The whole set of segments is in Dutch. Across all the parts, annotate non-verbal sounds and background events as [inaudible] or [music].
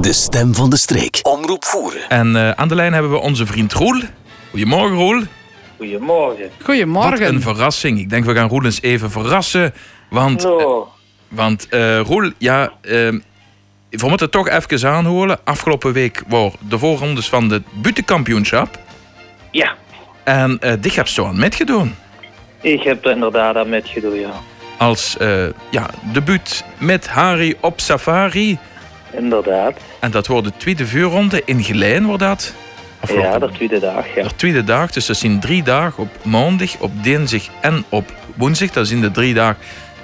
De stem van de streek. Omroep voeren. En eh, aan de lijn hebben we onze vriend Roel. Goedemorgen Roel. Goedemorgen. Wat een Goedemorgen. verrassing. Ik denk we gaan Roel eens even verrassen. Want, eh, Nou, want eh, Roel, ja, eh, we moeten het toch even aanholen. Afgelopen week waren de voorrondes van het buitenkampioenschap. ja, En eh dit heb je aan metgedaan. eh, ik heb er inderdaad aan metgedaan, ja. Als eh ja, debuut met Harry op safari. Inderdaad. En dat wordt de tweede vuurronde in Geleen, wordt dat? Ja, de tweede dag, ja. De tweede dag, dus dat zijn drie dagen op maandag, op dinsdag en op woensdag. Dat zijn de drie dagen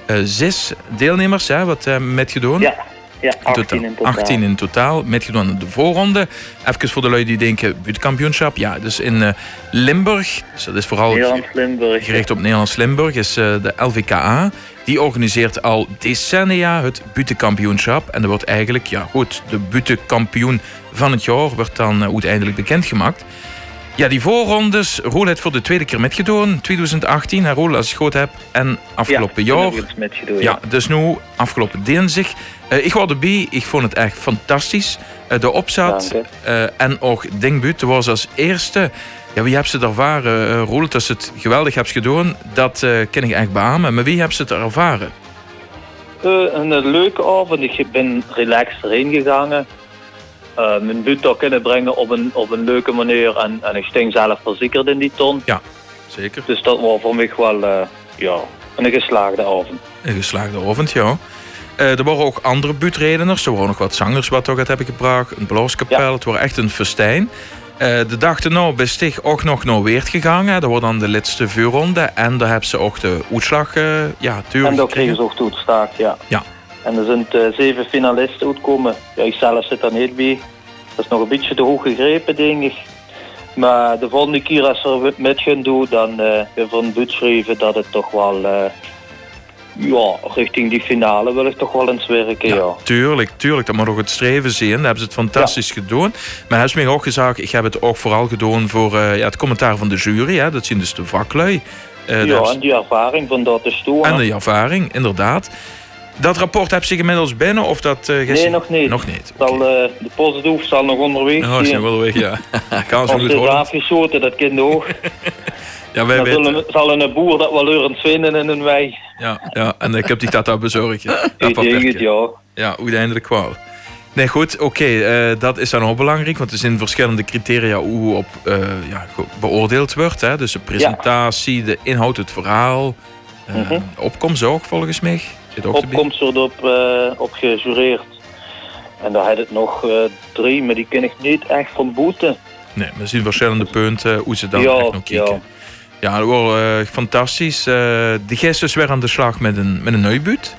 eh, zes deelnemers, hè, wat eh metgedaan. Ja, ja 18 in totaal. 18 in totaal, metgedaan aan de voorronde. Even voor de lui die denken, buurtkampioenschap, ja, dus in eh, Limburg. Dus dat is vooral Nederland, Limburg. gericht op Nederlands Limburg, is eh, de LVKA. Die organiseert al decennia het buitenkampioenschap. En er wordt eigenlijk, ja goed, de buitenkampioen van het jaar wordt dan eh, uiteindelijk bekendgemaakt. Ja, die voorrondes, Roel heeft voor de tweede keer metgedaan, 2018. Hè, Roel, als ik het goed heb. En afgelopen ja, jaar. ik heb er iets metgedaan, Ja, dus nu, afgelopen dinsdag. eh, ik was erbij, ik vond het echt fantastisch. Eh, de opzet Dank eh, en ook Dingbuut was als eerste. Ja, wie heb ze het ervaren, eh, Roel? Dat ze het geweldig hebben gedaan, dat eh, ken ik echt beamen. Maar wie heb ze het ervaren? Eh, een leuke avond. Ik ben relaxed erheen gegaan. Eh, mijn buurt daar kunnen brengen op een, op een leuke manier. En, en ik sting zelf verzekerd in die ton. Zeker. Dus dat was voor mij wel eh, ja, een geslaagde avond. Een geslaagde avond, ja. Eh, er waren ook andere buurtredeners. Er waren nog wat zangers wat toch het hebben gebracht. Een blaaskapel. Ja. Het was echt een festijn. Eh, de dag daarna ben ik ook nog naar Weert gegaan. Hè. Dat wordt dan de laatste vuurronde. En daar hebben ze ook de uitslag eh ja, tuurlijk En daar gekregen. kregen ze ook toetstaart, ja. Ja. En er zijn eh, zeven finalisten uitkomen. Ja, ik zelf zit er niet bij. Dat is nog een beetje te hoog gegrepen, denk ik. Maar de volgende keer als we het met gaan doen, dan eh even een buurt schrijven dat het toch wel... eh, ja, richting die finale wil ik toch wel eens werken, ja. Tuurlijk, tuurlijk. Dat moet ook het streven zijn. Dat hebben ze het fantastisch gedaan. Maar hij is mij ook gezegd, ik heb het ook vooral gedaan voor eh, ja, het commentaar van de jury. Hè. Dat zien dus de vaklui. Eh, daar Ja, hebben ze- en die ervaring van dat is toe. En eh, de ervaring, inderdaad. Dat rapport heb je inmiddels binnen of dat eh Nee, gisteren- nog niet. Nog niet. Zal, oké. eh, de postdoef zal nog onderweg Nou, is zijn. hij wel weg, ja. [laughs] Gaan ze Of goed het is horen. afgeschoten, dat [laughs] kind ook. Ja, wij Dan weten. zullen, zal een boer dat wel leurend vinden in hun wei. Ja, ja, en ik heb die tata bezorgd. [laughs] ja. Dat Ik wat denk het, werken. ja. Ja, uiteindelijk wel. Nee, goed, oké, eh, dat is dan ook belangrijk, want er zijn verschillende criteria hoe op eh, ja, ge- beoordeeld wordt. Hè? Dus de presentatie, de inhoud, het verhaal, eh, Mhm. opkomst ook volgens mij. Zit ook erbij. opkomst wordt op, eh, op gejureerd. En daar had het nog eh, drie, maar die ken ik niet echt van boete. Nee, we zien verschillende punten hoe ze dan Ja, echt nog kijken. Ja, ja. dat wordt eh, fantastisch. Eh, de gist is weer aan de slag met een, met een neubuut.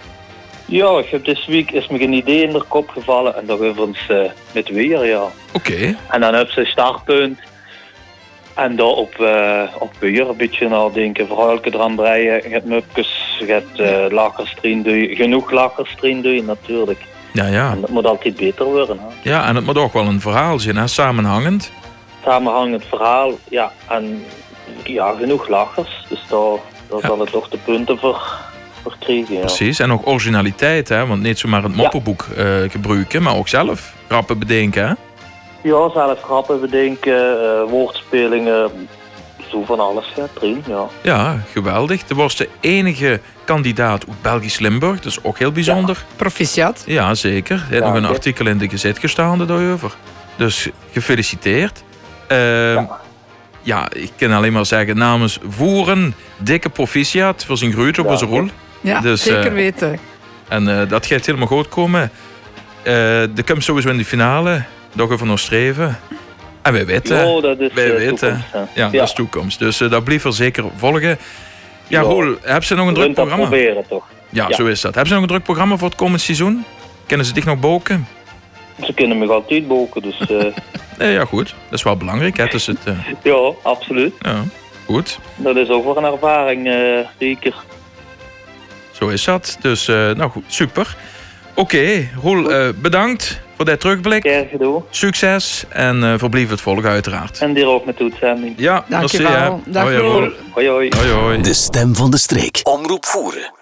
Ja, ik heb dit week is me een idee in de kop gevallen en dan overigens eh met weer, ja. Oké, En dan heb ze een startpunt. En daar op, eh, op weer een beetje nadenken, verhuilken eraan breien. Je hebt mupjes, je hebt eh lachers erin doen. Genoeg lachers erin doen natuurlijk. ja, ja. En dat moet altijd beter worden. Hè. Ja, en het moet ook wel een verhaal zijn, hè? samenhangend. samenhangend verhaal. Ja, en ja, genoeg lachers. Dus daar, daar Ja. zal het toch de punten voor, voor krijgen. Ja. Precies, en ook originaliteit, hè? want niet zomaar het moppenboek eh, gebruiken, maar ook zelf grappen bedenken. Hè? ja, zelf grappen bedenken, eh, woordspelingen, zo van alles ja, erin. Ja. Ja, geweldig. Er was de enige kandidaat uit Belgisch Limburg, dat is ook heel bijzonder. Proficiat. Ja, zeker. Er heeft nog een Dank je. artikel in de gezet gestaan daarover. Dus gefeliciteerd. Ehm, ja. Ja. ik kan alleen maar zeggen namens Voeren, dikke proficiat voor zijn groeit op Ja. onze rol. Ja, Dus, zeker eh, weten. En eh, dat gaat helemaal goed komen. Eh de komt sowieso in de finale. Daar gaan we nog streven. En wij weten. Ja, dat is wij eh, weten. toekomst, hè. Ja, dat is toekomst. Dus eh, dat blijft er zeker volgen. Ja, Ja. Roel, hebben ze nog een Je druk kunt dat programma? proberen toch. Ja, Ja. zo is dat. Hebben ze nog een druk programma voor het komend seizoen? Kennen ze dich nog boken? Ze kunnen me altijd boeken, dus eh, [laughs] Nee, ja, goed. Dat is wel belangrijk. Hè? Dus het, eh, ja, absoluut. ja, goed, Dat is ook wel een ervaring, eh, zeker. zo is dat. Dus, eh, nou goed, super. Oké, Roel, eh, bedankt voor dit terugblik. Kerk gedoe. Succes en eh verblijf het volgen uiteraard. En die ook met de uitzending. Ja, merci, Dankjewel. hè. Dag, Hoi, Roel. Roel. Hoi hoi. Hoi, hoi. De stem van de streek. Omroep voeren.